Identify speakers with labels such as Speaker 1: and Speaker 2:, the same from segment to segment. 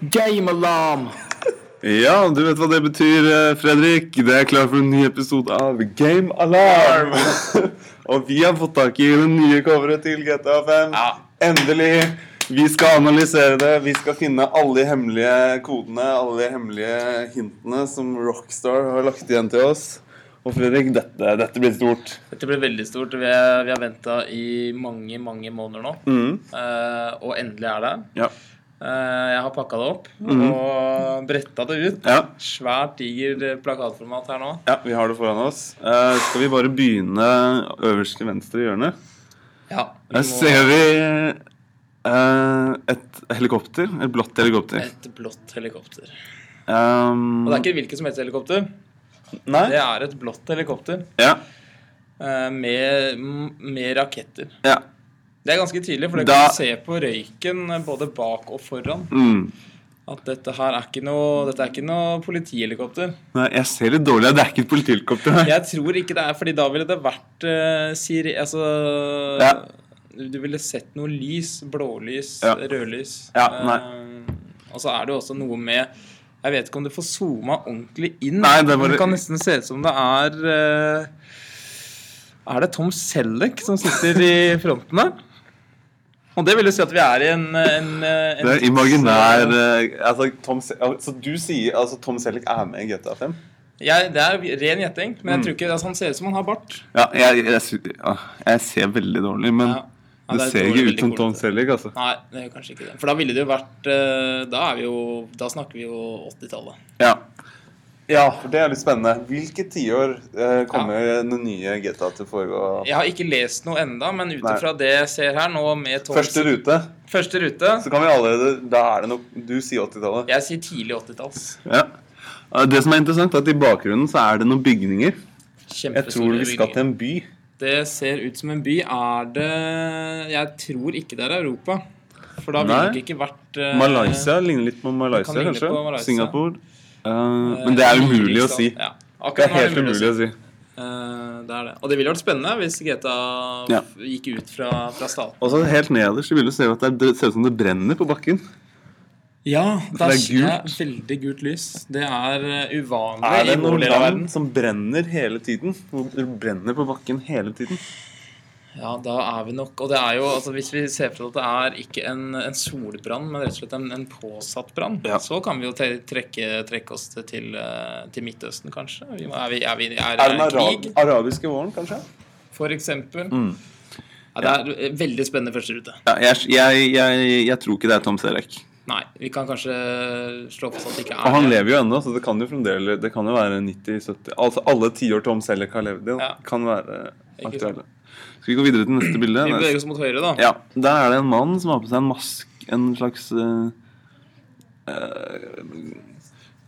Speaker 1: Game alarm!
Speaker 2: Ja, du vet hva det betyr, eh, Fredrik. Det er klar for en ny episode av Game Alarm. og vi har fått tak i det nye coveret til GTA 5.
Speaker 3: Ja.
Speaker 2: Endelig. Vi skal analysere det. Vi skal finne alle de hemmelige kodene, alle de hemmelige hintene som Rockstar har lagt igjen til oss. Og Fredrik, dette, dette blir stort.
Speaker 3: Dette ble veldig stort. Vi, er, vi har venta i mange, mange måneder nå.
Speaker 2: Mm.
Speaker 3: Eh, og endelig er det.
Speaker 2: Ja.
Speaker 3: Eh, jeg har pakka det opp
Speaker 2: Mm.
Speaker 3: og bretta det ut.
Speaker 2: ja.
Speaker 3: Svært diger plakatformat her nå.
Speaker 2: Ja, vi har det foran oss. Eh, skal vi bare begynne øverst til venstre i hjørnet?
Speaker 3: Ja, vi
Speaker 2: Der ser vi eh, et helikopter. Et blått
Speaker 3: må
Speaker 2: helikopter.
Speaker 3: Et blått helikopter.
Speaker 2: Um,
Speaker 3: Og det er ikke hvilket som helst helikopter.
Speaker 2: Nei?
Speaker 3: Det er et blått helikopter
Speaker 2: Ja.
Speaker 3: eh, med, med raketter.
Speaker 2: ja.
Speaker 3: Det er ganske tydelig, for det
Speaker 2: Da-
Speaker 3: kan du se på røyken eh, både bak og foran.
Speaker 2: Mm.
Speaker 3: At dette her er ikke noe, dette er ikke noe politihelikopter.
Speaker 2: Nei, jeg ser litt dårlig at det er ikke et politihelikopter her.
Speaker 3: Jeg tror ikke det er, fordi da ville det vært uh, siri... Altså
Speaker 2: Ja.
Speaker 3: Du ville sett noe lys. Blålys,
Speaker 2: Ja.
Speaker 3: rødlys.
Speaker 2: Ja,
Speaker 3: Eh, og så er det jo også noe med Jeg vet ikke om du får zooma ordentlig inn.
Speaker 2: Nei, det er
Speaker 3: men
Speaker 2: bare-
Speaker 3: det kan nesten se ut som det er eh, Er det Tom Selleck som sitter i fronten der? Og det vil jo si at vi er i en, en, en
Speaker 2: Det er imaginær eh, altså, Tom Se altså, du sier altså Tom Selleck er med i GTA 5?
Speaker 3: Jeg- Det er ren gjetting, men jeg tror ikke altså, han ser ut som han har bart.
Speaker 2: Ja, jeg, jeg, sy- ja, jeg ser veldig dårlig, men
Speaker 3: Ja. Ja,
Speaker 2: det,
Speaker 3: er
Speaker 2: ser
Speaker 3: dårlig,
Speaker 2: ikke
Speaker 3: veldig
Speaker 2: ut som Tom
Speaker 3: kolete.
Speaker 2: Selleck, altså.
Speaker 3: Nei, det gjør kanskje ikke det. For da ville det jo vært eh, Da, er vi jo, da snakker vi jo 80-tallet.
Speaker 2: Ja. ja, for det er litt spennende. Hvilke tiår eh, kommer den nye GTA til å foregå?
Speaker 3: Jeg har ikke lest noe enda, men ut
Speaker 2: Nei.
Speaker 3: ifra det jeg ser her nå med Tom
Speaker 2: Første rute,
Speaker 3: Første rute
Speaker 2: så kan vi allerede Da er det nok Du sier 80-tallet.
Speaker 3: Jeg sier tidlig 80-talls.
Speaker 2: Ja. Eh, Det som er interessant, er at i bakgrunnen så er det noen bygninger. Jeg tror
Speaker 3: Kjempestore
Speaker 2: vi
Speaker 3: bygninger.
Speaker 2: skal til en by.
Speaker 3: Det ser ut som en by. Er det Jeg tror ikke det er Europa. For da ville
Speaker 2: Nei.
Speaker 3: det ikke vært eh,
Speaker 2: Malaysia ligner litt på
Speaker 3: Kan
Speaker 2: Malaysia,
Speaker 3: ligne
Speaker 2: kanskje.
Speaker 3: på Malaysia.
Speaker 2: Singapore. Eh,
Speaker 3: eh,
Speaker 2: men det er umulig å
Speaker 3: Livingston.
Speaker 2: si.
Speaker 3: Ja.
Speaker 2: Det er
Speaker 3: Akkurat nå
Speaker 2: helt umulig å si.
Speaker 3: Eh, det er det. Og det ville vært spennende hvis GTA
Speaker 2: Ja.
Speaker 3: gikk ut fra, fra staten.
Speaker 2: Og så helt nederst så vil du se at det er- det ser ut som det brenner på bakken.
Speaker 3: Ja, det er,
Speaker 2: Det er
Speaker 3: det er veldig gult lys. Det er eh, uvanlig
Speaker 2: Er det
Speaker 3: i
Speaker 2: noen
Speaker 3: vår del av verden.
Speaker 2: land som brenner hele tiden? Hvor Det brenner på bakken hele tiden.
Speaker 3: Ja, da er vi nok Og det er jo, altså hvis vi ser for oss at det er ikke en, en solbrann, men rett og slett en, en påsatt brann,
Speaker 2: Ja.
Speaker 3: så kan vi jo te trekke, trekke oss til, til, eh, til Midtøsten, kanskje. Vi, må- er vi, er vi er,
Speaker 2: Er det den
Speaker 3: det
Speaker 2: arab
Speaker 3: krig,
Speaker 2: arabiske våren, kanskje?
Speaker 3: for eksempel?
Speaker 2: Mm.
Speaker 3: Ja, det er eh, veldig spennende første rute.
Speaker 2: Ja, jeg, jeg, jeg, jeg tror ikke det er Tom Selleck.
Speaker 3: Nei, vi kan kanskje slå fast at det ikke
Speaker 2: Og
Speaker 3: er
Speaker 2: han
Speaker 3: det.
Speaker 2: lever jo ennå, så det kan jo fremdeles Det kan jo være 90-70 Altså alle tiår Tom Selleck har levd i, da,
Speaker 3: Ja.
Speaker 2: kan være
Speaker 3: Ikke
Speaker 2: aktuelle. Skal vi gå videre til neste bilde?
Speaker 3: Vi beveger oss mot høyre, da.
Speaker 2: Ja, Der er det en mann som har på seg en mask En slags eh, eh,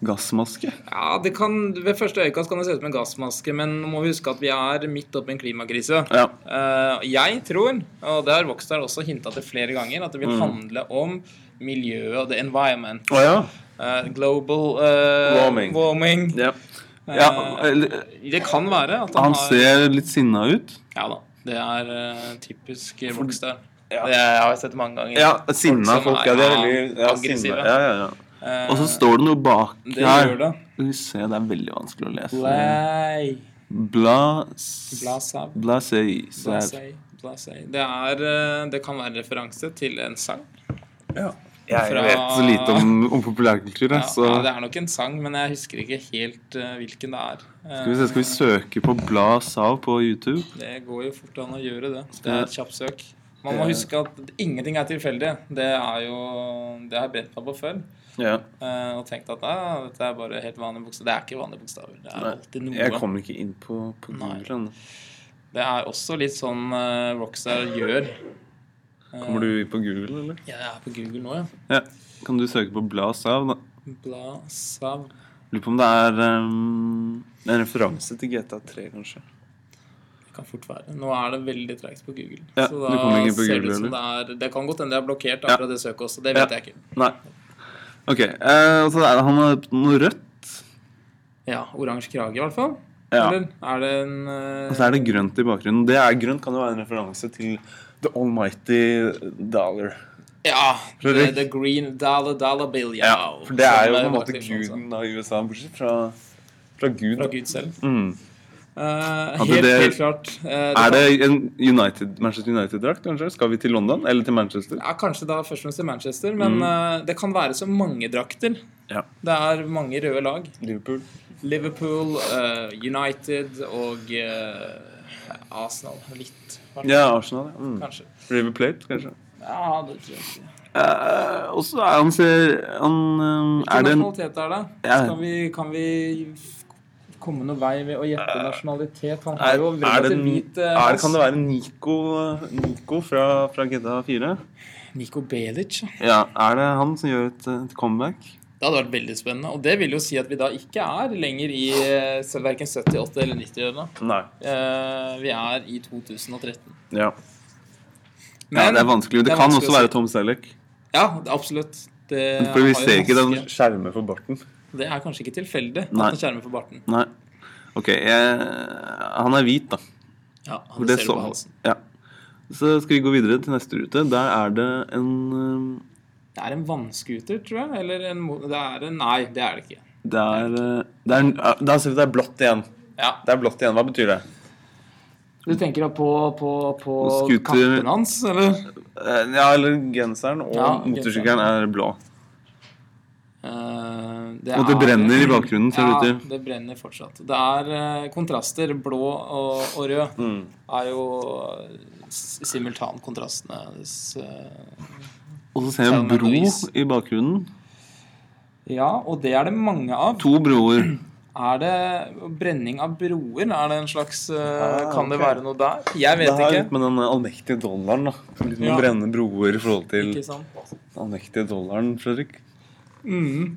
Speaker 2: gassmaske.
Speaker 3: Ja, det kan, Ved første øyekast kan det se ut som en gassmaske, men nå må vi huske at vi er midt oppe i en klimakrise.
Speaker 2: Ja.
Speaker 3: Eh, jeg tror, og det har Rockstar også hinta til flere ganger, at det
Speaker 2: Mm.
Speaker 3: vil handle om miljøet og the environment.
Speaker 2: Å ja.
Speaker 3: Eh, global eh,
Speaker 2: Warming. ja.
Speaker 3: Eh,
Speaker 2: eller-
Speaker 3: det kan være at han,
Speaker 2: han ser litt sinna ut.
Speaker 3: har Ja da. Det er eh, typisk Rockstar.
Speaker 2: Ja.
Speaker 3: Det har jeg sett mange ganger.
Speaker 2: Ja, sinna
Speaker 3: som
Speaker 2: folk.
Speaker 3: er-
Speaker 2: Ja, de er veldig ja,
Speaker 3: ja,
Speaker 2: aggressive.
Speaker 3: aggressive.
Speaker 2: Ja, ja, ja.
Speaker 3: Eh,
Speaker 2: Og så står det noe bak
Speaker 3: det
Speaker 2: her.
Speaker 3: gjør det.
Speaker 2: Skal vi se, det er veldig vanskelig å lese.
Speaker 3: Blei.
Speaker 2: Blas...
Speaker 3: Blasav.
Speaker 2: Blasei. Sæv.
Speaker 3: Blasé, blasé. Det, er, eh, det kan være en referanse til en sang.
Speaker 2: Jeg
Speaker 3: Fra-
Speaker 2: vet så lite om, om populærkultur, jeg,
Speaker 3: Ja,
Speaker 2: så
Speaker 3: ja, det er nok en sang, men jeg husker ikke helt eh, hvilken det er. Eh,
Speaker 2: skal vi, se, skal vi søke på Bla Sav på YouTube?
Speaker 3: Det går jo fort an å gjøre det. Det
Speaker 2: Ja.
Speaker 3: er et kjapt søk. Man må
Speaker 2: Ja.
Speaker 3: huske at ingenting er tilfeldig. Det er jo Det har jeg brent meg på før.
Speaker 2: Ja.
Speaker 3: eh, Og tenkt at ja, dette er bare helt vanlige bokstaver. Det er ikke vanlige bokstaver. Det er
Speaker 2: Nei,
Speaker 3: alltid
Speaker 2: Jeg
Speaker 3: noe.
Speaker 2: kommer ikke inn på, på
Speaker 3: Nei.
Speaker 2: Google ennå.
Speaker 3: Det er også litt sånn eh, Rockstar gjør. Eh,
Speaker 2: Kommer du på Google, eller?
Speaker 3: Jeg er på Google nå, ja.
Speaker 2: Ja. Kan du søke på Bla Sav, da?
Speaker 3: Bla sav.
Speaker 2: Lurer på om det er ehm, en referanse til GTA3, kanskje.
Speaker 3: Det kan fort være. Nå er det veldig treigt på Google.
Speaker 2: Ja,
Speaker 3: så
Speaker 2: du kommer
Speaker 3: da
Speaker 2: ikke på
Speaker 3: ser
Speaker 2: Google,
Speaker 3: det ut som det er Det kan godt hende det er blokkert akkurat det søket også. Det vet
Speaker 2: Ja.
Speaker 3: jeg ikke.
Speaker 2: Nei. Ok. eh, og så er det han har noe rødt,
Speaker 3: Ja, Oransje krage, i hvert fall.
Speaker 2: Ja.
Speaker 3: Eller er det en eh,
Speaker 2: og så er det grønt i bakgrunnen. Det er grønt kan jo være en referanse til The Almighty Dollar.
Speaker 3: Ja. The,
Speaker 2: Fredrik?
Speaker 3: the Green Dollar Dollar Bill, ja. sånn,
Speaker 2: For det er jo
Speaker 3: Som
Speaker 2: på en måte
Speaker 3: Barclay Fonds,
Speaker 2: guden av USA, bortsett fra, fra Gud.
Speaker 3: Fra
Speaker 2: da.
Speaker 3: Gud selv.
Speaker 2: Mm.
Speaker 3: Eh,
Speaker 2: At
Speaker 3: helt,
Speaker 2: det-
Speaker 3: helt klart. Eh,
Speaker 2: Er det en United, Manchester United-drakt? kanskje? Skal vi til London eller til Manchester?
Speaker 3: Ja, Kanskje da først og fremst i Manchester, men
Speaker 2: Mm.
Speaker 3: eh, det kan være så mange drakter.
Speaker 2: Ja.
Speaker 3: Det er mange røde lag.
Speaker 2: Liverpool.
Speaker 3: Liverpool, eh, United og eh, Arsenal. Litt,
Speaker 2: Ja, Arsenal. Ja. Mm.
Speaker 3: kanskje.
Speaker 2: River Plate, kanskje.
Speaker 3: Ja, det tror jeg ikke.
Speaker 2: Eh, og så er han ser han, eh, er
Speaker 3: Hvilken
Speaker 2: det en,
Speaker 3: nasjonalitet er det?
Speaker 2: Ja.
Speaker 3: Skal vi, kan vi f- komme noen vei ved å gjette nasjonalitet? Han
Speaker 2: Eh, er,
Speaker 3: er jo
Speaker 2: er det,
Speaker 3: relativt
Speaker 2: en-
Speaker 3: hvit. eh,
Speaker 2: er,
Speaker 3: rass.
Speaker 2: Kan det være Nico, eh, Nico fra, fra GTA 4?
Speaker 3: Niko Belic.
Speaker 2: Ja, er det han som gjør et, eh, et comeback?
Speaker 3: Det hadde vært veldig spennende. Og det vil jo si at vi da ikke er lenger i eh, så verken 70-, 80- eller 90-årene.
Speaker 2: Nei.
Speaker 3: Eh, vi er i 2013.
Speaker 2: Ja,
Speaker 3: Men,
Speaker 2: ja det er vanskelig. Det,
Speaker 3: det er
Speaker 2: kan
Speaker 3: vanskelig
Speaker 2: også
Speaker 3: å si.
Speaker 2: være Tom Selleck.
Speaker 3: Ja, det- absolutt. Det
Speaker 2: For
Speaker 3: har jo
Speaker 2: vi ser ikke den
Speaker 3: maske.
Speaker 2: skjermen for barten.
Speaker 3: Det er kanskje ikke tilfeldig at
Speaker 2: Nei.
Speaker 3: han skjermer for barten.
Speaker 2: Nei. Ok, jeg, han er hvit, da.
Speaker 3: Ja, han ser
Speaker 2: For det
Speaker 3: det
Speaker 2: så
Speaker 3: på
Speaker 2: man.
Speaker 3: halsen.
Speaker 2: Ja. Så skal vi gå videre til neste rute. Der er det en eh,
Speaker 3: Det er en vannskuter, tror jeg. Eller en mo- Det er en Nei, det er det ikke.
Speaker 2: Det er, eh, det er, en- ah, Da ser vi at det er blått igjen.
Speaker 3: Ja.
Speaker 2: Det er blått igjen. Hva betyr det?
Speaker 3: Du tenker da på, på, på
Speaker 2: Scooter-
Speaker 3: kappen hans, eller?
Speaker 2: Eh, Ja, eller genseren og
Speaker 3: Ja,
Speaker 2: motorsykkelen er blå.
Speaker 3: Eh,
Speaker 2: Og det
Speaker 3: er-
Speaker 2: brenner i bakgrunnen, ser det
Speaker 3: ja,
Speaker 2: ut til.
Speaker 3: det brenner fortsatt. Det er eh, kontraster. Blå og, og rød
Speaker 2: Mm.
Speaker 3: er jo s- simultankontrastene. s- eh,
Speaker 2: Og så ser jeg en
Speaker 3: Salman
Speaker 2: bro
Speaker 3: Louis.
Speaker 2: i bakgrunnen.
Speaker 3: Ja, og det er det mange av.
Speaker 2: To broer.
Speaker 3: Er det brenning av broer? Er det en slags eh,
Speaker 2: Ah,
Speaker 3: Kan det
Speaker 2: ok.
Speaker 3: være noe der? Jeg
Speaker 2: Det
Speaker 3: vet
Speaker 2: har litt
Speaker 3: ikke.
Speaker 2: med den allmektige dollaren da. Litt med
Speaker 3: Ja.
Speaker 2: å brenne broer i forhold til
Speaker 3: Ikke sant?
Speaker 2: den allmektige dollaren, Fredrik.
Speaker 3: Mm.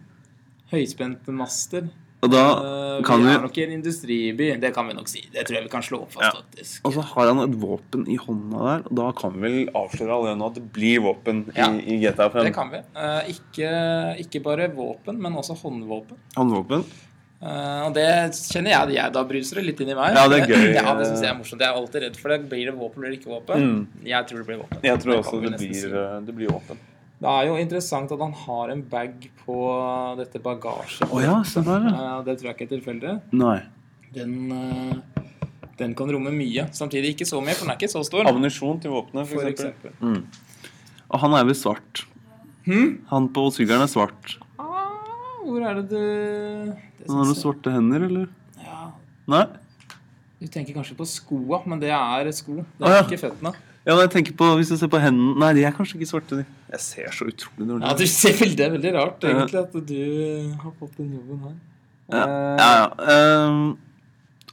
Speaker 3: Høyspente master.
Speaker 2: Og da
Speaker 3: Eh,
Speaker 2: kan
Speaker 3: vi
Speaker 2: vi
Speaker 3: er nok i en industriby. Det kan vi nok si. Det tror jeg vi kan slå opp fast,
Speaker 2: Ja.
Speaker 3: faktisk.
Speaker 2: Og så har han et våpen i hånda der, og da kan vi vel avsløre allerede nå at det blir våpen i,
Speaker 3: Ja.
Speaker 2: i GTA 5.
Speaker 3: Det kan vi. Eh, ikke, ikke bare våpen, men også håndvåpen.
Speaker 2: Håndvåpen.
Speaker 3: Eh, og det kjenner jeg at jeg da bruser det litt inn i meg.
Speaker 2: Ja, det er gøy.
Speaker 3: Ja, det synes jeg er morsomt. Jeg er alltid redd for det. Blir det våpen, blir det ikke våpen? Jeg tror det blir våpen.
Speaker 2: Mm. Jeg tror
Speaker 3: Det
Speaker 2: også
Speaker 3: kan vi
Speaker 2: det
Speaker 3: nesten si.
Speaker 2: blir, eh, det blir våpen.
Speaker 3: Det er jo interessant at han har en bag på dette bagasjet.
Speaker 2: Å ja, se der, ja.
Speaker 3: Eh, det tror jeg ikke er tilfeldig.
Speaker 2: Nei.
Speaker 3: Den, eh, den kan romme mye. Samtidig ikke så mye, for den er ikke så stor.
Speaker 2: Ammunisjon til våpenet, for,
Speaker 3: For eksempel.
Speaker 2: eksempel. Mm. Og han er vel svart. Han på sykkelen er svart.
Speaker 3: Ah, hvor er det du det
Speaker 2: Han har
Speaker 3: synes
Speaker 2: noen svarte hender, eller?
Speaker 3: jeg- ja.
Speaker 2: Nei?
Speaker 3: Du tenker kanskje på skoa, men det er sko. Det
Speaker 2: Å,
Speaker 3: er
Speaker 2: ja.
Speaker 3: ikke føttene.
Speaker 2: Ja, men jeg tenker på, Hvis du ser på hendene Nei, de er kanskje ikke svarte, de. Jeg ser så utrolig dårlig
Speaker 3: Ja, du ser veldig, Det er veldig rart
Speaker 2: Ja.
Speaker 3: egentlig at du eh, har fått den jobben her.
Speaker 2: Ja,
Speaker 3: Eh,
Speaker 2: ja. ja. Ehm,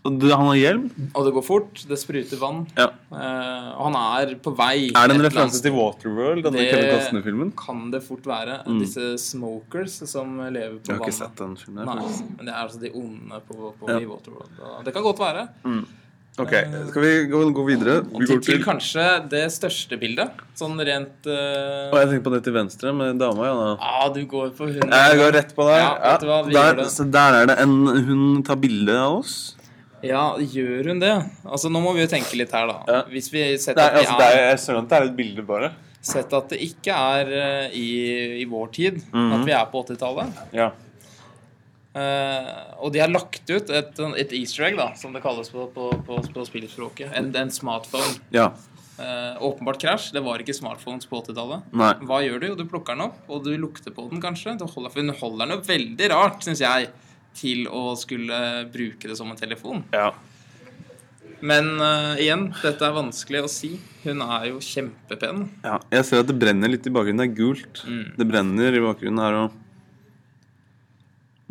Speaker 2: og du, han har hjelm?
Speaker 3: Og det går fort, det spruter vann,
Speaker 2: Ja.
Speaker 3: eh, og han er på vei.
Speaker 2: Er det
Speaker 3: et
Speaker 2: en
Speaker 3: eller annet
Speaker 2: referanse til Waterworld, denne
Speaker 3: Det-
Speaker 2: Kevin Costner-filmen?
Speaker 3: sted. Kan det fort være disse smokers som lever på
Speaker 2: Mm. Jeg har
Speaker 3: vannet?
Speaker 2: ikke sett den filmen.
Speaker 3: Nei,
Speaker 2: faktisk.
Speaker 3: men det er altså de onde på, på
Speaker 2: Ja.
Speaker 3: i Waterworld. og Det kan godt være.
Speaker 2: Ok, Skal vi gå, gå videre? Vi
Speaker 3: Til, til
Speaker 2: går til Og
Speaker 3: kanskje det største bildet, sånn rent eh,
Speaker 2: jeg tenker på det til venstre med dama. Ja, da.
Speaker 3: Ja, du går for hunden.
Speaker 2: Jeg går rett på der.
Speaker 3: Ja, vet du hva, vi gjør
Speaker 2: der,
Speaker 3: det.
Speaker 2: så der er det en Hun tar bilde av oss.
Speaker 3: Ja, gjør hun det? Altså, nå må vi jo tenke litt her, da.
Speaker 2: Ja.
Speaker 3: Hvis vi
Speaker 2: Det
Speaker 3: setter
Speaker 2: er,
Speaker 3: at vi
Speaker 2: altså, det er, jeg skjønner at det er et bilde, bare.
Speaker 3: sett at det ikke er eh, i, i vår tid, at vi er på 80-tallet.
Speaker 2: Ja.
Speaker 3: Eh, og de har lagt ut et, et easter egg, da, som det kalles på, på, på, på spillspråket. En, en smartphone.
Speaker 2: ja.
Speaker 3: Eh, åpenbart krasj. Det var ikke smartphones på 80-tallet.
Speaker 2: Nei.
Speaker 3: Hva gjør du? Jo, du plukker den opp, og du lukter på den kanskje. Du holder, for hun holder den jo veldig rart, syns jeg, til å skulle bruke det som en telefon.
Speaker 2: Ja.
Speaker 3: Men eh, igjen, dette er vanskelig å si. Hun er jo kjempepen.
Speaker 2: Ja, jeg ser at det brenner litt i bakgrunnen. Det er gult.
Speaker 3: Mm.
Speaker 2: Det brenner i bakgrunnen her òg.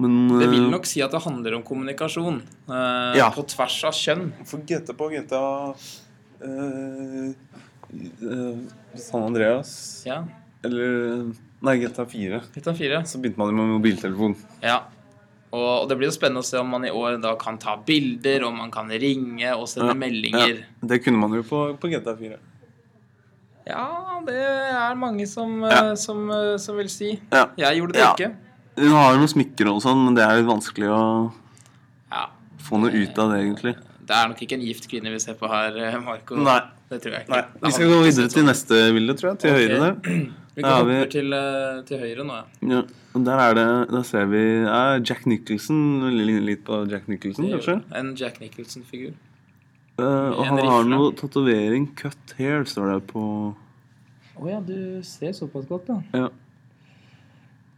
Speaker 2: Men
Speaker 3: Det vil
Speaker 2: eh,
Speaker 3: nok si at det handler om kommunikasjon eh,
Speaker 2: Ja.
Speaker 3: på tvers av kjønn.
Speaker 2: For GT på GTA eh, eh, San Andreas
Speaker 3: Ja,
Speaker 2: Eller Nei, GTA 4.
Speaker 3: litt av fire.
Speaker 2: Så begynte man med mobiltelefon.
Speaker 3: Ja. Og det blir jo spennende å se om man i år da kan ta bilder, om man kan ringe og sende meldinger.
Speaker 2: Ja, det kunne man jo på, på GTA 4.
Speaker 3: Ja, det er mange som, eh,
Speaker 2: Ja.
Speaker 3: som, eh, som vil si.
Speaker 2: Ja.
Speaker 3: Jeg gjorde det
Speaker 2: Ja.
Speaker 3: ikke.
Speaker 2: Hun har jo noen smykker og sånn, men det er litt vanskelig å
Speaker 3: Ja.
Speaker 2: få noe ut av det, egentlig.
Speaker 3: Det er nok ikke en gift kvinne vi ser på her, eh, Marco.
Speaker 2: Nei.
Speaker 3: Det tror jeg ikke.
Speaker 2: Nei. Vi skal gå videre til neste bilde, tror jeg. Til høyre der.
Speaker 3: Vi
Speaker 2: Da er
Speaker 3: hopper
Speaker 2: vi-
Speaker 3: til, eh, til høyre nå, ja.
Speaker 2: Ja, og der er det Da ser vi ja, Jack Nicholson. Det Ligner litt på Jack Nicholson, kanskje.
Speaker 3: En Jack Nicholson-figur.
Speaker 2: Eh, og
Speaker 3: en
Speaker 2: han har
Speaker 3: rifle.
Speaker 2: noe tatovering. Cut hair, står det på
Speaker 3: Å ja, du ser såpass godt, ja.
Speaker 2: Ja.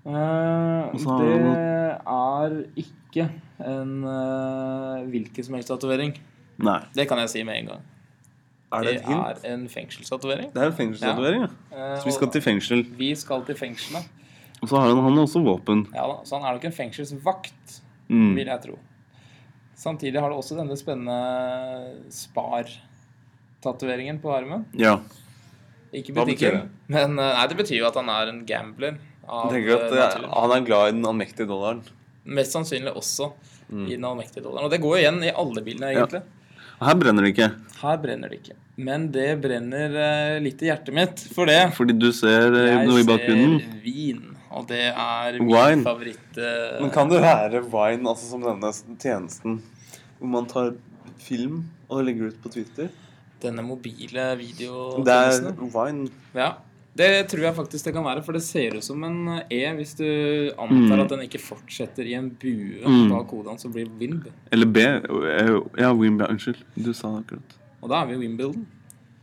Speaker 3: Eh,
Speaker 2: Og så har
Speaker 3: det er ikke en eh, hvilken som helst tatovering.
Speaker 2: Nei.
Speaker 3: Det kan jeg si med en gang.
Speaker 2: Er
Speaker 3: Det
Speaker 2: det et hint?
Speaker 3: er en fengselstatovering.
Speaker 2: Det er en fengselstatovering, ja.
Speaker 3: Eh,
Speaker 2: Så vi skal til fengsel.
Speaker 3: og vi skal til fengselet.
Speaker 2: Og så har han, han har også våpen.
Speaker 3: Ja da, så han er nok en fengselsvakt,
Speaker 2: Mm.
Speaker 3: vil jeg tro. Samtidig har du også denne spennende Spar-tatoveringen på armen.
Speaker 2: Ja.
Speaker 3: Ikke
Speaker 2: Hva betyr det?
Speaker 3: butikken, men eh, Nei, det betyr jo at han er en gambler. Av,
Speaker 2: Jeg tenker at
Speaker 3: eh,
Speaker 2: eh,
Speaker 3: natur.
Speaker 2: han er glad i den allmektige dollaren.
Speaker 3: Mest sannsynlig også
Speaker 2: Mm.
Speaker 3: i den allmektige dollaren. Og det går jo igjen i alle bilene, egentlig.
Speaker 2: Og her brenner det ikke.
Speaker 3: Her brenner det ikke. Men det brenner eh, litt i hjertet mitt for det.
Speaker 2: Fordi du ser eh, noe i bakgrunnen.
Speaker 3: ser vin, og det er min
Speaker 2: Wine.
Speaker 3: favoritt eh,
Speaker 2: Men kan det være Vine, altså som denne tjenesten, hvor man tar film og legger ut på Twitter?
Speaker 3: Denne mobile
Speaker 2: Det er
Speaker 3: videotjenesten.
Speaker 2: Vine.
Speaker 3: Ja. Det tror jeg faktisk det kan være, for det ser ut som en E hvis du antar at den ikke fortsetter i en bue
Speaker 2: Mm.
Speaker 3: bak hodet hans og blir Wimb.
Speaker 2: Eller B. eh, Ja, Wimbledon. Unnskyld. Du sa det akkurat.
Speaker 3: Og da er vi i Wimbledon.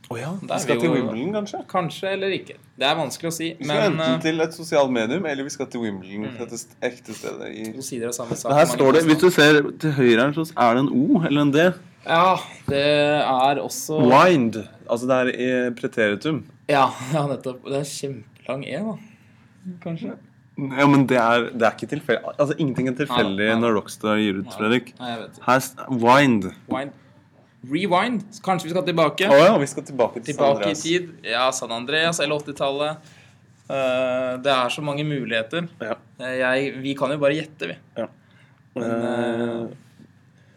Speaker 2: Å ja.
Speaker 3: Da er
Speaker 2: Vi skal
Speaker 3: vi
Speaker 2: til
Speaker 3: jo-
Speaker 2: Wimbledon, kanskje?
Speaker 3: Kanskje eller ikke. Det er vanskelig å si,
Speaker 2: Vi skal
Speaker 3: men
Speaker 2: enten
Speaker 3: eh, Mm.
Speaker 2: til et sosialt medium, eller vi skal til Wimbledon. Dette st- ekte stedet i
Speaker 3: to sider av samme sak.
Speaker 2: Her står det, Hvis du ser til høyre her, så er det en O eller en D.
Speaker 3: Ja, det er også
Speaker 2: Wind. Altså det er i preteritum.
Speaker 3: Ja, ja, nettopp. Det er kjempelang E, da. Kanskje.
Speaker 2: Ja, men det er, det er ikke tilfeldig. Altså, ingenting er tilfeldig
Speaker 3: Nei, nei.
Speaker 2: når Rockstar gir ut, Fredrik.
Speaker 3: Nei, jeg vet ikke.
Speaker 2: Her st- Wind.
Speaker 3: Wind. Rewind. Så Kanskje vi skal tilbake.
Speaker 2: Å ja, vi skal tilbake til altså. San
Speaker 3: Tilbake i
Speaker 2: Andreas.
Speaker 3: tid. Ja, San Andreas eller 80-tallet. Eh, det er så mange muligheter.
Speaker 2: Ja.
Speaker 3: Eh, Jeg, vi kan jo bare gjette, vi.
Speaker 2: Eh,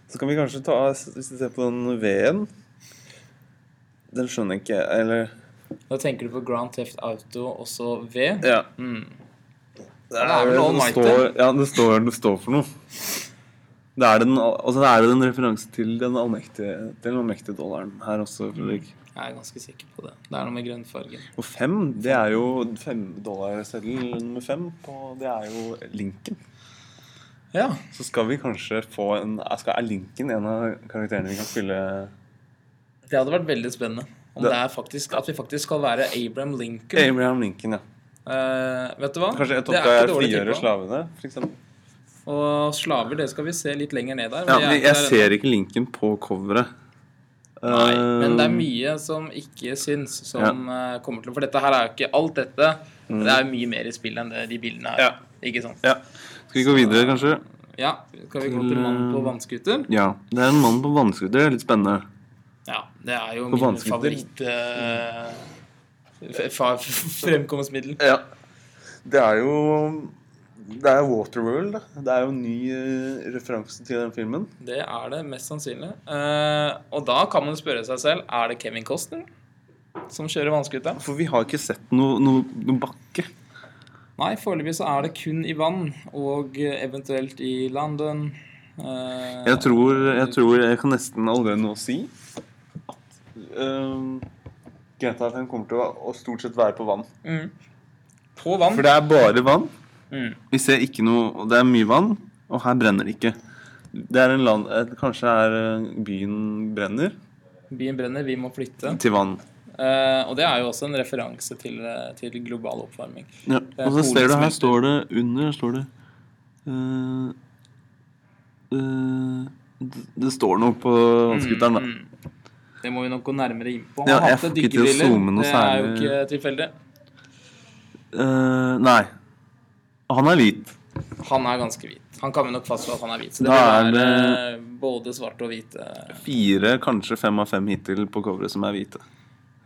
Speaker 2: Så kan vi kanskje ta Hvis vi ser på den V-en Den skjønner jeg ikke Eller
Speaker 3: Da tenker du på Grand Theft Auto, også V.
Speaker 2: Ja.
Speaker 3: Mm.
Speaker 2: Det
Speaker 3: er vel All Might,
Speaker 2: står, ja, det, står, det står for noe. Det er, den, altså det er en referanse til den allmektige, til den allmektige dollaren her også, Fredrik.
Speaker 3: Jeg er ganske sikker på det. Det er noe med grønnfargen.
Speaker 2: Og fem, det er jo femdollarseddel nummer fem. På, det er jo Lincoln.
Speaker 3: Ja.
Speaker 2: Så skal vi kanskje få en skal, Er Lincoln en av karakterene vi kan spille
Speaker 3: Det hadde vært veldig spennende. Om
Speaker 2: Det-
Speaker 3: det er faktisk, At vi faktisk skal være Abraham Lincoln.
Speaker 2: Abraham Lincoln, ja.
Speaker 3: Eh, vet du hva?
Speaker 2: Kanskje jeg
Speaker 3: Det er
Speaker 2: tolka
Speaker 3: ikke
Speaker 2: jeg
Speaker 3: dårlig
Speaker 2: frigjøre
Speaker 3: tippa.
Speaker 2: slavene, for eksempel.
Speaker 3: Og slaver, det skal vi se litt lenger ned der. men
Speaker 2: Ja,
Speaker 3: vi er
Speaker 2: men
Speaker 3: ikke
Speaker 2: jeg
Speaker 3: der ennå.
Speaker 2: ser ikke Lincoln på coveret.
Speaker 3: Nei, men det er
Speaker 2: Eh,
Speaker 3: mye som ikke syns, som eh, kommer til å For dette her er jo ikke alt dette. Det er jo mye mer i spill enn det de bildene her.
Speaker 2: Ja.
Speaker 3: Ikke sant?
Speaker 2: Mm. ja. Skal vi gå videre, kanskje?
Speaker 3: Ja. Skal vi gå til mannen på vannskuter?
Speaker 2: Ja. Det er en mann på vannskuter. Det er litt spennende.
Speaker 3: Ja. Det er jo
Speaker 2: På
Speaker 3: min
Speaker 2: vannskuter?
Speaker 3: favoritt eh, f- fa- fremkomstmiddel.
Speaker 2: Ja. Det er jo Det er Waterworld. da. Det er jo en ny eh, referanse til den filmen.
Speaker 3: Det er det mest sannsynlig. Eh, og da kan man spørre seg selv Er det Kevin Costner som kjører vannskuta?
Speaker 2: For vi har ikke sett noe, noe, noe bakke.
Speaker 3: Nei, foreløpig så er det kun i vann, og eh, eventuelt i London. Eh,
Speaker 2: Jeg tror jeg, tror jeg kan nesten allerede nå si at um, GTA 5 kommer til å, å stort sett være på vann.
Speaker 3: mm. På vann.
Speaker 2: For det er bare vann.
Speaker 3: Mm.
Speaker 2: Vi ser ikke noe og Det er mye vann, og her brenner det ikke. Det er en land, eh, kanskje er eh, byen brenner
Speaker 3: Byen brenner, vi må flytte.
Speaker 2: til vann.
Speaker 3: Eh, og det er jo også en referanse til, eh, til global oppvarming.
Speaker 2: Ja.
Speaker 3: er
Speaker 2: Og så ser du
Speaker 3: polesmelter.
Speaker 2: her står det under står det, eh, eh, det, det står noe på vannscooteren, da.
Speaker 3: Det må vi nok gå nærmere inn på. Han
Speaker 2: Ja,
Speaker 3: har
Speaker 2: jeg
Speaker 3: hatt det
Speaker 2: får ikke til å
Speaker 3: dykkerbriller.
Speaker 2: zoome noe
Speaker 3: Det er jo
Speaker 2: særlig.
Speaker 3: ikke tilfeldig.
Speaker 2: Eh, nei. Han er hvit.
Speaker 3: Han er ganske hvit. Han kan vi nok fastslå at han er hvit. Så det
Speaker 2: Da
Speaker 3: vil
Speaker 2: er
Speaker 3: være
Speaker 2: det-
Speaker 3: eh, både svarte og hvite.
Speaker 2: Fire, kanskje fem av fem hittil på coveret som er hvite.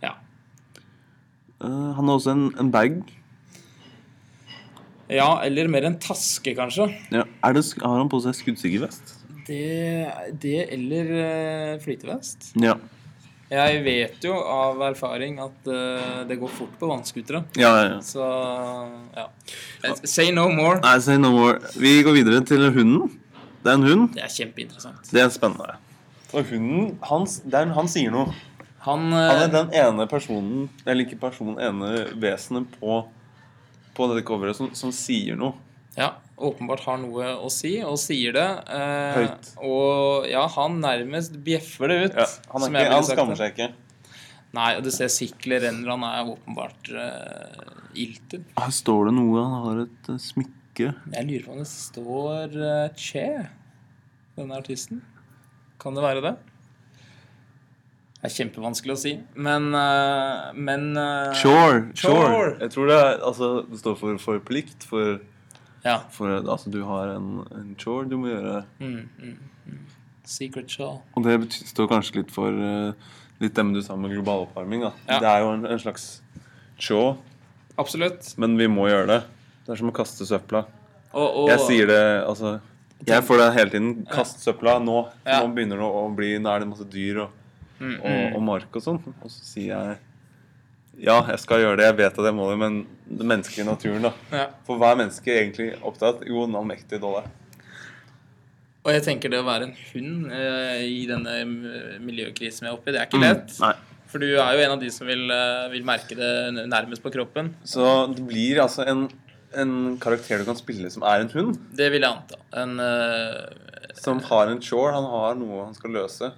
Speaker 3: Ja.
Speaker 2: Eh, han har også en, en bag.
Speaker 3: ja, eller mer en taske, kanskje.
Speaker 2: Ja. Er det, sk- har han på seg skuddsikker vest?
Speaker 3: Det, det eller eh, flytevest.
Speaker 2: Ja.
Speaker 3: Jeg vet jo av erfaring at eh, det går fort på vannskutere.
Speaker 2: ja, ja, ja.
Speaker 3: Så ja. Eh, Say no more.
Speaker 2: Nei, say no more. Vi går videre til hunden. Det er en hund.
Speaker 3: Det er kjempeinteressant.
Speaker 2: Det er spennende. Og hunden, han, s- det er, han sier noe.
Speaker 3: Han,
Speaker 2: Han er
Speaker 3: eh,
Speaker 2: den ene personen, eller ikke personen, ene vesenet på på dette coveret som, som sier noe.
Speaker 3: Ja, åpenbart har noe å si, og sier det. Eh,
Speaker 2: Høyt.
Speaker 3: Og ja, han nærmest bjeffer det ut.
Speaker 2: Ja, han, er
Speaker 3: som jeg
Speaker 2: ikke,
Speaker 3: ville
Speaker 2: han
Speaker 3: sagt
Speaker 2: skammer
Speaker 3: det.
Speaker 2: seg ikke.
Speaker 3: Nei, og du ser sikler renner, han er åpenbart eh, ilter.
Speaker 2: Her står det noe. Han har et eh, smykke.
Speaker 3: Jeg lurer på om det står eh, Che, denne artisten. Kan det være det? Det er kjempevanskelig å si, men, eh, men eh,
Speaker 2: Chore.
Speaker 3: Chore.
Speaker 2: Jeg tror det, er, altså, det står for, for plikt. For,
Speaker 3: Ja.
Speaker 2: for altså, du har en, en chore du må gjøre.
Speaker 3: Mm, mm, mm. Secret Shaw.
Speaker 2: Og det bety- står kanskje litt for eh, litt det med du sa med global oppvarming. Da.
Speaker 3: Ja.
Speaker 2: Det er jo en, en slags chore,
Speaker 3: Absolutt.
Speaker 2: men vi må gjøre det. Det er som å kaste søpla.
Speaker 3: Og, og,
Speaker 2: Jeg sier det altså Jeg får det hele tiden. Kast søpla nå.
Speaker 3: Ja.
Speaker 2: Nå begynner det å bli Nå er det masse dyr og,
Speaker 3: Mm,
Speaker 2: og, og mark og sånn. Og så sier jeg ja, jeg skal gjøre det, jeg vet at jeg må det, men det menneskelige naturen, da.
Speaker 3: ja.
Speaker 2: For hva er mennesket egentlig opptatt? Jo, en allmektig dollar.
Speaker 3: Og jeg tenker det å være en hund eh, i denne eh, miljøkrisen vi er oppe i, det er ikke lett.
Speaker 2: Mm, Nei.
Speaker 3: For du er jo en av de som vil, eh, vil merke det n- nærmest på kroppen.
Speaker 2: Så det blir altså en, en karakter du kan spille som er en hund.
Speaker 3: Det vil jeg anta. En, eh,
Speaker 2: Som har en chore. Han har noe han skal løse.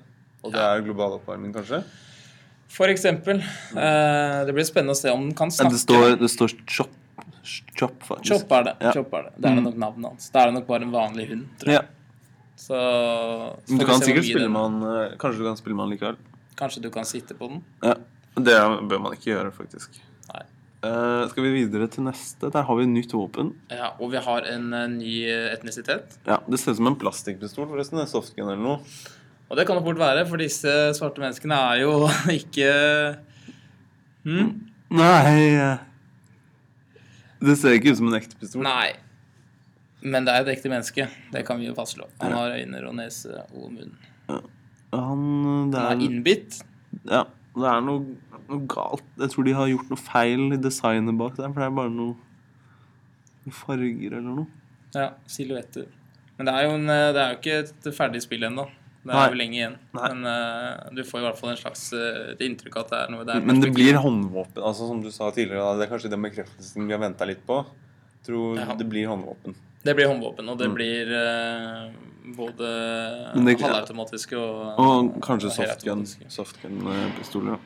Speaker 2: Og det er global oppvarming, kanskje?
Speaker 3: for eksempel. Eh, det blir spennende å se om den kan snakke.
Speaker 2: chop. Chop, faktisk.
Speaker 3: Chop er det.
Speaker 2: Ja. Mm.
Speaker 3: Chop er det. det er det nok navnet hans. Da er det nok bare en vanlig hund, tror jeg.
Speaker 2: Ja.
Speaker 3: Så, så
Speaker 2: Men
Speaker 3: får
Speaker 2: du
Speaker 3: vi
Speaker 2: kan
Speaker 3: se hvor
Speaker 2: sikkert
Speaker 3: mye
Speaker 2: spille
Speaker 3: den-
Speaker 2: med han eh, Kanskje du kan spille med han likevel.
Speaker 3: Kanskje du kan sitte på den?
Speaker 2: Ja. Det bør man ikke gjøre, faktisk.
Speaker 3: Nei.
Speaker 2: Eh, skal vi videre til neste? Der har vi nytt våpen.
Speaker 3: Ja, og vi har en eh, ny eh, etnisitet.
Speaker 2: Ja, Det ser ut som en plastikkpistol, forresten. En softgun eller noe.
Speaker 3: Og det kan det fort være, for disse svarte menneskene er jo ikke hm?
Speaker 2: Nei eh, Det ser ikke ut som en ekte pistol.
Speaker 3: Nei. Men det er et ekte menneske. Det kan vi jo fastslå. Han har øyne og nese og munn.
Speaker 2: Han, eh, det,
Speaker 3: Han er
Speaker 2: er,
Speaker 3: innbitt.
Speaker 2: ja, det er noe, noe galt. Jeg tror de har gjort noe feil i designet bak der, for det er bare noe noe farger eller noe.
Speaker 3: Ja, silhuetter. Men det er, jo en, eh, det er jo ikke et ferdig spill ennå. Det er
Speaker 2: Nei.
Speaker 3: jo lenge igjen.
Speaker 2: Nei.
Speaker 3: Men eh, du får i hvert fall en slags eh, et inntrykk av at det er noe der.
Speaker 2: Men det blir håndvåpen. altså Som du sa tidligere, da, det er kanskje den bekreftelsen vi har venta litt på. Jeg tror
Speaker 3: Ja.
Speaker 2: det blir håndvåpen.
Speaker 3: Det blir håndvåpen, og det blir eh, både
Speaker 2: Mm. Men det-
Speaker 3: halvautomatiske og
Speaker 2: Og kanskje
Speaker 3: og
Speaker 2: softgun.
Speaker 3: helautomatiske.
Speaker 2: Softgun-pistoler.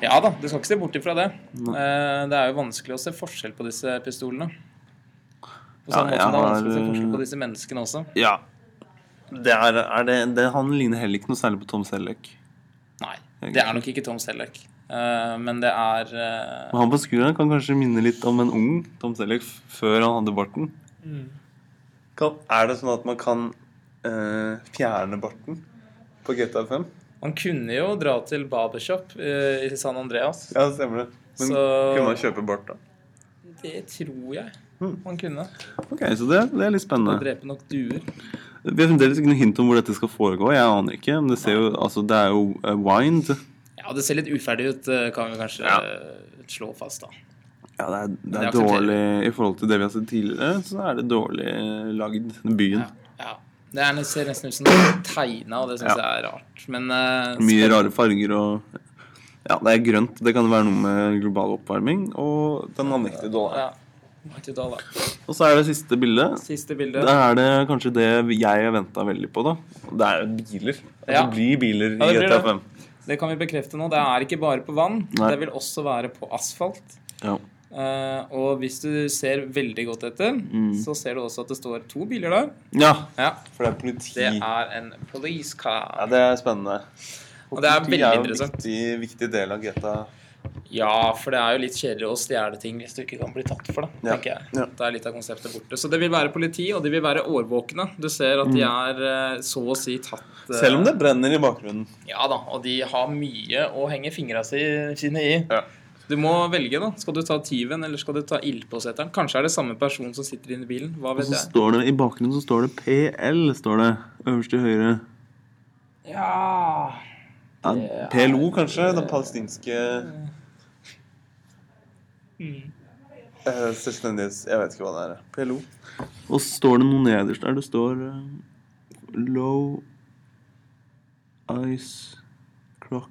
Speaker 3: Ja da, du skal ikke se bort ifra det. Eh, det er jo vanskelig å se forskjell på disse pistolene. På
Speaker 2: Ja,
Speaker 3: samme
Speaker 2: jeg
Speaker 3: måte som det er
Speaker 2: har,
Speaker 3: vanskelig å se forskjell
Speaker 2: eh,
Speaker 3: på disse menneskene også.
Speaker 2: Ja. Det er, er det, det, han ligner heller ikke noe særlig på Tom Selleck.
Speaker 3: Nei, det er nok ikke Tom Selleck. Eh, men det er eh,
Speaker 2: Men han på skuret kan kanskje minne litt om en ung Tom Selleck f- før han hadde barten.
Speaker 3: Mm.
Speaker 2: Kan, er det sånn at man kan eh, fjerne barten på GTA 5?
Speaker 3: Man kunne jo dra til Barbershop eh, i San Andreas.
Speaker 2: Ja, det stemmer det. Men
Speaker 3: Så-
Speaker 2: kunne man kjøpe bart, da?
Speaker 3: Det tror jeg
Speaker 2: Mm.
Speaker 3: man kunne.
Speaker 2: Ok, Så det, det er litt spennende.
Speaker 3: Drepe nok duer.
Speaker 2: Vi har fremdeles ikke noe hint om hvor dette skal foregå. Jeg aner ikke. Men det, ser jo, altså, det er jo eh, Wind.
Speaker 3: Ja, det ser litt uferdig ut, eh, kan vi kanskje
Speaker 2: Ja.
Speaker 3: eh, slå fast, da.
Speaker 2: Ja, det er, det
Speaker 3: jeg
Speaker 2: er
Speaker 3: aksepterer.
Speaker 2: dårlig i forhold til det vi har sett tidligere. Så er det dårlig eh, lagd. Byen.
Speaker 3: Ja. Det er, ser nesten ut som det er tegna, og det syns jeg er rart. Men eh,
Speaker 2: Mye rare farger og Ja, det er grønt. Det kan være noe med global oppvarming og den allmektige dollaren.
Speaker 3: Ja. Martin Dahl, da.
Speaker 2: Og så er det siste bildet.
Speaker 3: Siste
Speaker 2: Da
Speaker 3: bilde.
Speaker 2: er det kanskje det jeg har venta veldig på, da. Det er jo biler. At
Speaker 3: Ja.
Speaker 2: det blir biler
Speaker 3: Ja,
Speaker 2: i
Speaker 3: det blir
Speaker 2: GTA
Speaker 3: det.
Speaker 2: 5.
Speaker 3: Det kan vi bekrefte nå. Det er ikke bare på vann.
Speaker 2: Nei.
Speaker 3: Det vil også være på asfalt.
Speaker 2: Ja.
Speaker 3: Eh, og hvis du ser veldig godt etter,
Speaker 2: Mm.
Speaker 3: så ser du også at det står to biler der.
Speaker 2: ja,
Speaker 3: Ja,
Speaker 2: for det er politi.
Speaker 3: Det er en police car.
Speaker 2: Ja, det er spennende.
Speaker 3: Og det er
Speaker 2: Politi
Speaker 3: veldig
Speaker 2: jo en
Speaker 3: interessant.
Speaker 2: Viktig, viktig del av GTA.
Speaker 3: Ja, for det er jo litt kjedelig å stjele ting hvis du ikke kan bli tatt for det.
Speaker 2: Ja.
Speaker 3: tenker jeg.
Speaker 2: Ja.
Speaker 3: Da er litt av konseptet borte. Så det vil være politi, og de vil være årvåkne. Du ser at de er eh, så å si tatt eh,
Speaker 2: Mm. Selv om det brenner i bakgrunnen.
Speaker 3: Ja da, og de har mye å henge fingra si, sine i.
Speaker 2: Ja.
Speaker 3: Du må velge, da. Skal du ta tyven, eller skal du ta ildpåsetteren? Kanskje er det samme person som sitter inne i bilen. Hva
Speaker 2: Og
Speaker 3: vet
Speaker 2: så
Speaker 3: jeg?
Speaker 2: står det, I bakgrunnen så står det PL, står det. Øverst til høyre.
Speaker 3: Ja
Speaker 2: Ja, PLO, kanskje? Den palestinske
Speaker 3: Mm.
Speaker 2: Eh, Selvstendighets... Jeg vet ikke hva det er. PLO. Og så står det noe nederst der. Det står eh, Low Ice Clock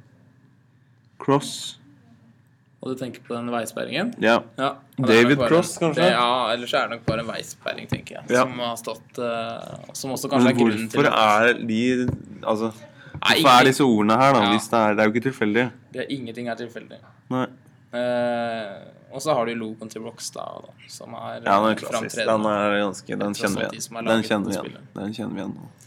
Speaker 2: Cross
Speaker 3: Og Og du tenker på den veisperringen?
Speaker 2: Ja.
Speaker 3: Ja, og det er
Speaker 2: David
Speaker 3: nok bare-
Speaker 2: Cross, kanskje?
Speaker 3: Det, ja, ellers er det nok bare en veisperring, tenker jeg.
Speaker 2: Ja.
Speaker 3: Som har stått eh, Som også kanskje
Speaker 2: Men
Speaker 3: er grunnen til
Speaker 2: hvorfor er de Altså,
Speaker 3: Nei,
Speaker 2: hvorfor er disse ordene her, da?
Speaker 3: Ja.
Speaker 2: Hvis det er Det er jo ikke tilfeldig.
Speaker 3: det er ingenting er tilfeldig.
Speaker 2: Nei.
Speaker 3: Eh, og så har du logoen til Rockstad, da, som er
Speaker 2: Ja,
Speaker 3: eh,
Speaker 2: den er klassisk.
Speaker 3: framtredende.
Speaker 2: Den er ganske Den
Speaker 3: Tross alt
Speaker 2: kjenner vi
Speaker 3: de som har
Speaker 2: igjen. Den
Speaker 3: laget
Speaker 2: kjenner vi
Speaker 3: dette
Speaker 2: igjen. Den kjenner vi igjen.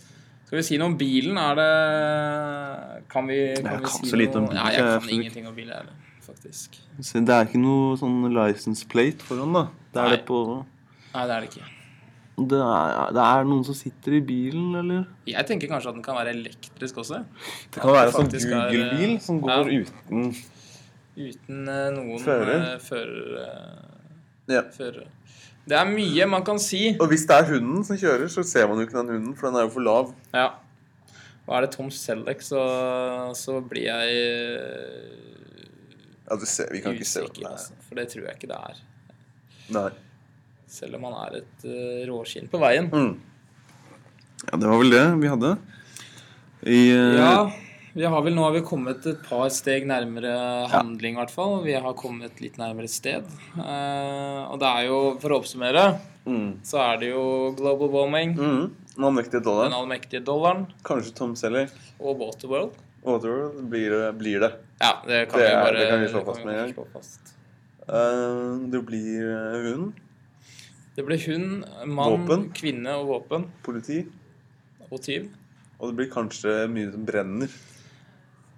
Speaker 3: Skal vi si noe om bilen? Er det Kan vi, kan
Speaker 2: Jeg
Speaker 3: vi
Speaker 2: kan
Speaker 3: si
Speaker 2: så lite om bil,
Speaker 3: Nei,
Speaker 2: jeg
Speaker 3: jeg
Speaker 2: er
Speaker 3: kan
Speaker 2: for-
Speaker 3: ingenting om bil, jeg heller, faktisk.
Speaker 2: Så det er ikke noe sånn license plate foran, da. Det er
Speaker 3: Nei.
Speaker 2: det på
Speaker 3: Nei, det er det ikke.
Speaker 2: det er, det er noen som sitter i bilen, eller?
Speaker 3: Jeg tenker kanskje at den kan være elektrisk også.
Speaker 2: Det kan være
Speaker 3: det
Speaker 2: en sånn
Speaker 3: faktisk er, eh,
Speaker 2: Google-bil som
Speaker 3: ja.
Speaker 2: går uten
Speaker 3: Uten eh, noen
Speaker 2: Fører.
Speaker 3: eh, fører,
Speaker 2: Ja.
Speaker 3: eh, førere. Det er mye man kan si.
Speaker 2: Og hvis det er hunden som kjører, så ser man jo ikke den hunden, for den er jo for lav.
Speaker 3: Ja. Og er det Tom Selleck, så, så blir jeg eh,
Speaker 2: Ja, du ser, Vi kan ikke se
Speaker 3: usikker. Altså. For det tror jeg ikke det er.
Speaker 2: Nei.
Speaker 3: Selv om han er et eh, råskinn på veien.
Speaker 2: Mm. Ja, det var vel det vi hadde. I eh,
Speaker 3: Ja, vi har vel, nå har vi kommet et par steg nærmere handling, i hvert fall. Vi har kommet litt nærmere et sted. Eh, og det er jo, for å oppsummere,
Speaker 2: mm.
Speaker 3: så er det jo global warming,
Speaker 2: Mm. Den allmektige
Speaker 3: den
Speaker 2: dollaren.
Speaker 3: allmektige dollaren
Speaker 2: Kanskje Tom Selleck.
Speaker 3: og Waterworld.
Speaker 2: Waterworld blir, det- blir det.
Speaker 3: Ja, det kan
Speaker 2: Det
Speaker 3: vi
Speaker 2: er-
Speaker 3: bare
Speaker 2: det kan vi slå fast
Speaker 3: kan
Speaker 2: med en gang.
Speaker 3: slå fast.
Speaker 2: Eh, det blir eh, hunden.
Speaker 3: Det ble hun, mann,
Speaker 2: Våpen.
Speaker 3: kvinne og våpen
Speaker 2: Politi.
Speaker 3: og tyv.
Speaker 2: Og det blir kanskje mye som brenner.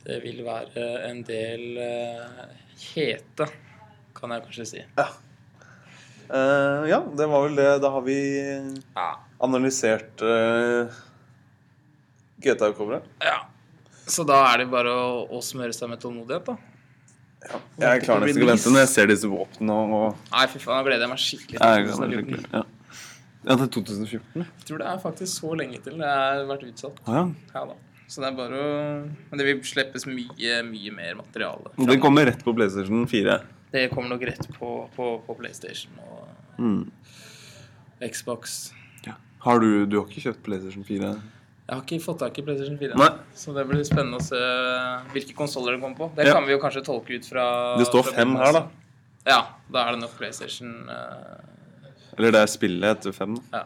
Speaker 3: Det vil være en del eh, hete, kan jeg kanskje si.
Speaker 2: Ja. Eh, ja, det var vel det. Da har vi
Speaker 3: Ja.
Speaker 2: analysert uh, GTA-coveret.
Speaker 3: ja. Så da er det bare å, å smøre seg med tålmodighet, da.
Speaker 2: Jeg
Speaker 3: Håper
Speaker 2: klarer
Speaker 3: det blir
Speaker 2: nesten ikke å
Speaker 3: nice.
Speaker 2: vente når jeg ser disse våpnene og, og
Speaker 3: Nei, fy faen, da gleder jeg meg skikkelig
Speaker 2: Jeg
Speaker 3: til
Speaker 2: gleder meg
Speaker 3: 2014.
Speaker 2: skikkelig. Ja. ja, til 2014.
Speaker 3: Jeg tror det er faktisk så lenge til det har vært utsatt.
Speaker 2: Ah, ja.
Speaker 3: Ja da. Så det er bare å Men det vil slippes mye, mye mer materiale.
Speaker 2: Den kommer rett på PlayStation 4.
Speaker 3: Det kommer nok rett på, på, på PlayStation og
Speaker 2: Mm.
Speaker 3: Xbox.
Speaker 2: Har du, du har ikke kjøpt PlayStation 4?
Speaker 3: Jeg har ikke fått tak i PlayStation 4.
Speaker 2: Nei.
Speaker 3: Så det blir spennende å se hvilke konsoller det kommer på. Det
Speaker 2: Ja.
Speaker 3: kan vi jo kanskje tolke ut fra
Speaker 2: Det står
Speaker 3: fra
Speaker 2: fem
Speaker 3: bildet
Speaker 2: her, da.
Speaker 3: også. Ja, da er det nok PlayStation. eh,
Speaker 2: Eller det er spillet etter fem. da.
Speaker 3: Ja.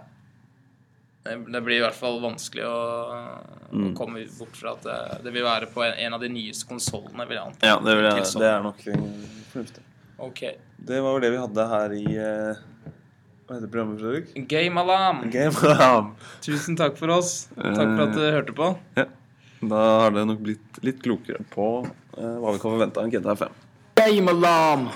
Speaker 3: Det det blir i hvert fall vanskelig å, å
Speaker 2: Mm.
Speaker 3: komme bort fra at det, det vil være på en, en av de nyeste konsollene, vil jeg anta.
Speaker 2: Ja, det, vil
Speaker 3: Til
Speaker 2: jeg,
Speaker 3: sånn.
Speaker 2: det er nok eh, fornuftig.
Speaker 3: Ok.
Speaker 2: Det var vel det vi hadde her i eh, Hva heter programmet, Fredrik?
Speaker 3: Game alarm!
Speaker 2: Game Lab.
Speaker 3: Tusen takk for oss. Takk for at du hørte på.
Speaker 2: Ja. Da har det nok blitt litt klokere på eh, hva vi kan forvente av en GTA 5.
Speaker 3: Game alarm!